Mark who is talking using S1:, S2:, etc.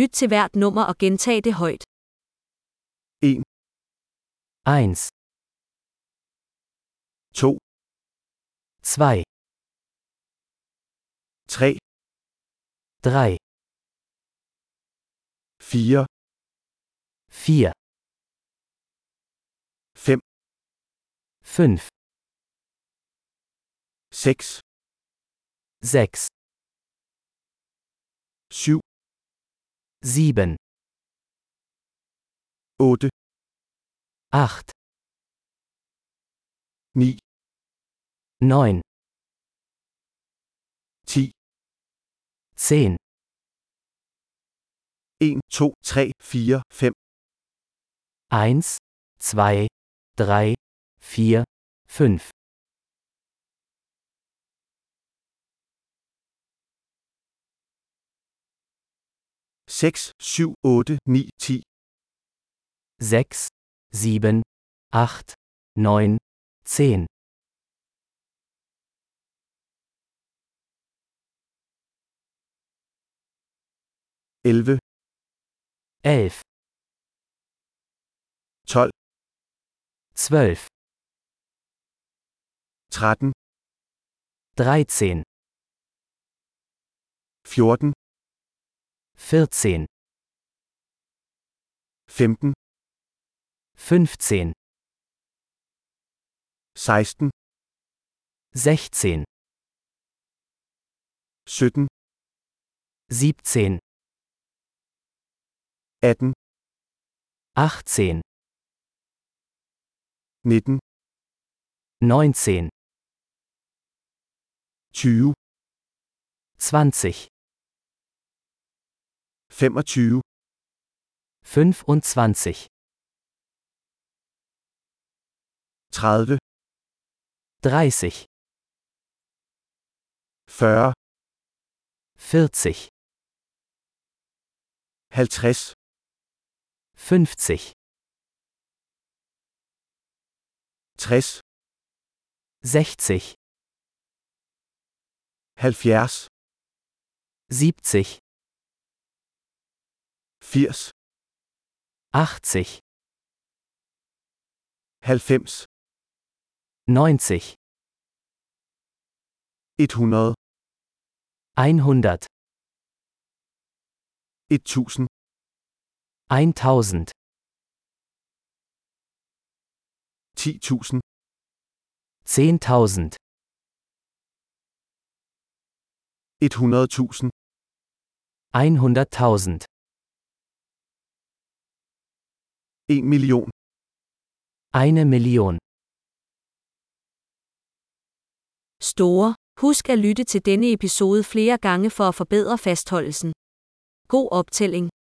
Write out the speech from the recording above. S1: Lyt til hvert nummer og gentag det højt.
S2: 1,
S3: 2,
S2: 2,
S3: 3,
S2: 3,
S3: 4,
S2: 4,
S3: 5,
S2: 5,
S3: 6,
S2: 6,
S3: 7,
S2: 7,
S3: 8,
S2: 8,
S3: 9,
S2: 9,
S3: 10,
S2: 10,
S3: 1, 2, 3, 4, 5,
S2: 1, 2, 3, 4, 5,
S3: 6, 7, 8, 9, 10,
S2: 6, 7, 8, 9, 10,
S3: 11,
S2: 11,
S3: 12,
S2: 12,
S3: 13,
S2: 13,
S3: 14,
S2: 14,
S3: 15,
S2: 15,
S3: 16,
S2: 16,
S3: 17,
S2: 17,
S3: 18,
S2: 18,
S3: 19,
S2: 19,
S3: 20,
S2: 20,
S3: 25,
S2: 25,
S3: 30,
S2: 30,
S3: 40,
S2: 40,
S3: 50,
S2: 50,
S3: 60,
S2: 60,
S3: 70,
S2: 70,
S3: 80,
S2: 80,
S3: 90,
S2: 90, 100,
S3: 100, 1000,
S2: 1000,
S3: 10.000,
S2: 10.000, 100.000,
S3: 100.000, 1 million,
S2: eine Million.
S1: Store. Husk at lytte til denne episode flere gange for at forbedre fastholdelsen. God optælling.